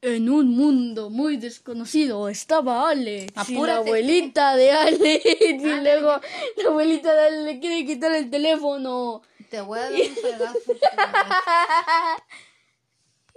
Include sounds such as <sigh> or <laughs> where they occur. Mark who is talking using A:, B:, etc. A: En un mundo muy desconocido estaba Ale. Si la
B: Apúrate.
A: abuelita de Ale. <laughs> Y luego la abuelita de Ale le quiere quitar el teléfono.
B: Te voy a dar un pedazo.